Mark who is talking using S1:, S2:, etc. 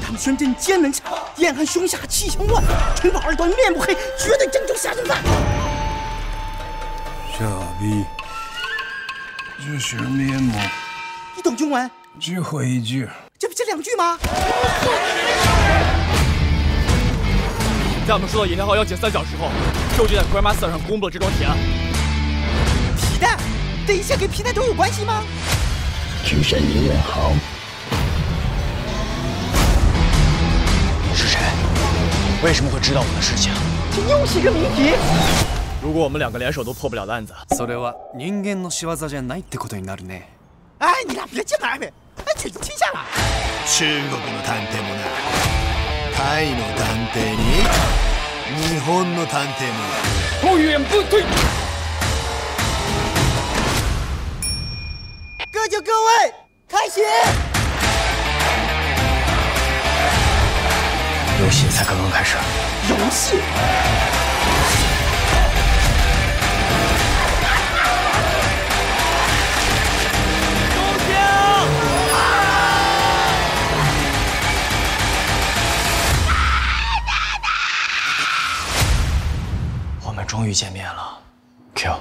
S1: 土深震，奸门岔，眼含胸下气相乱，唇饱耳端面不黑，绝对正宗下酒饭。
S2: 傻逼，这什么面目？
S1: 你懂中文？
S2: 只会一句。
S1: 这不这两句吗？
S3: 在我们收到饮料号邀请三小时后，就就在 Grandmaster 上公布了这桩铁案。
S1: 皮蛋，这一切跟皮蛋都有关系吗？
S4: 只身一人好。
S5: 是谁？为什么会知道我的事情？
S1: 这又是一个谜题。
S3: 如果我们两个联手都破不了的案子，
S6: それは人間の仕業じゃないってことになるね。
S1: 哎，你俩别进来呗！哎，卷宗天下了。
S7: 中国の探偵もなタイの探偵に日本の探偵も
S3: な不远不退
S1: 各就各位，开始。
S5: 游戏才刚刚开始。
S1: 游戏。
S5: 我们终于见面了，Q。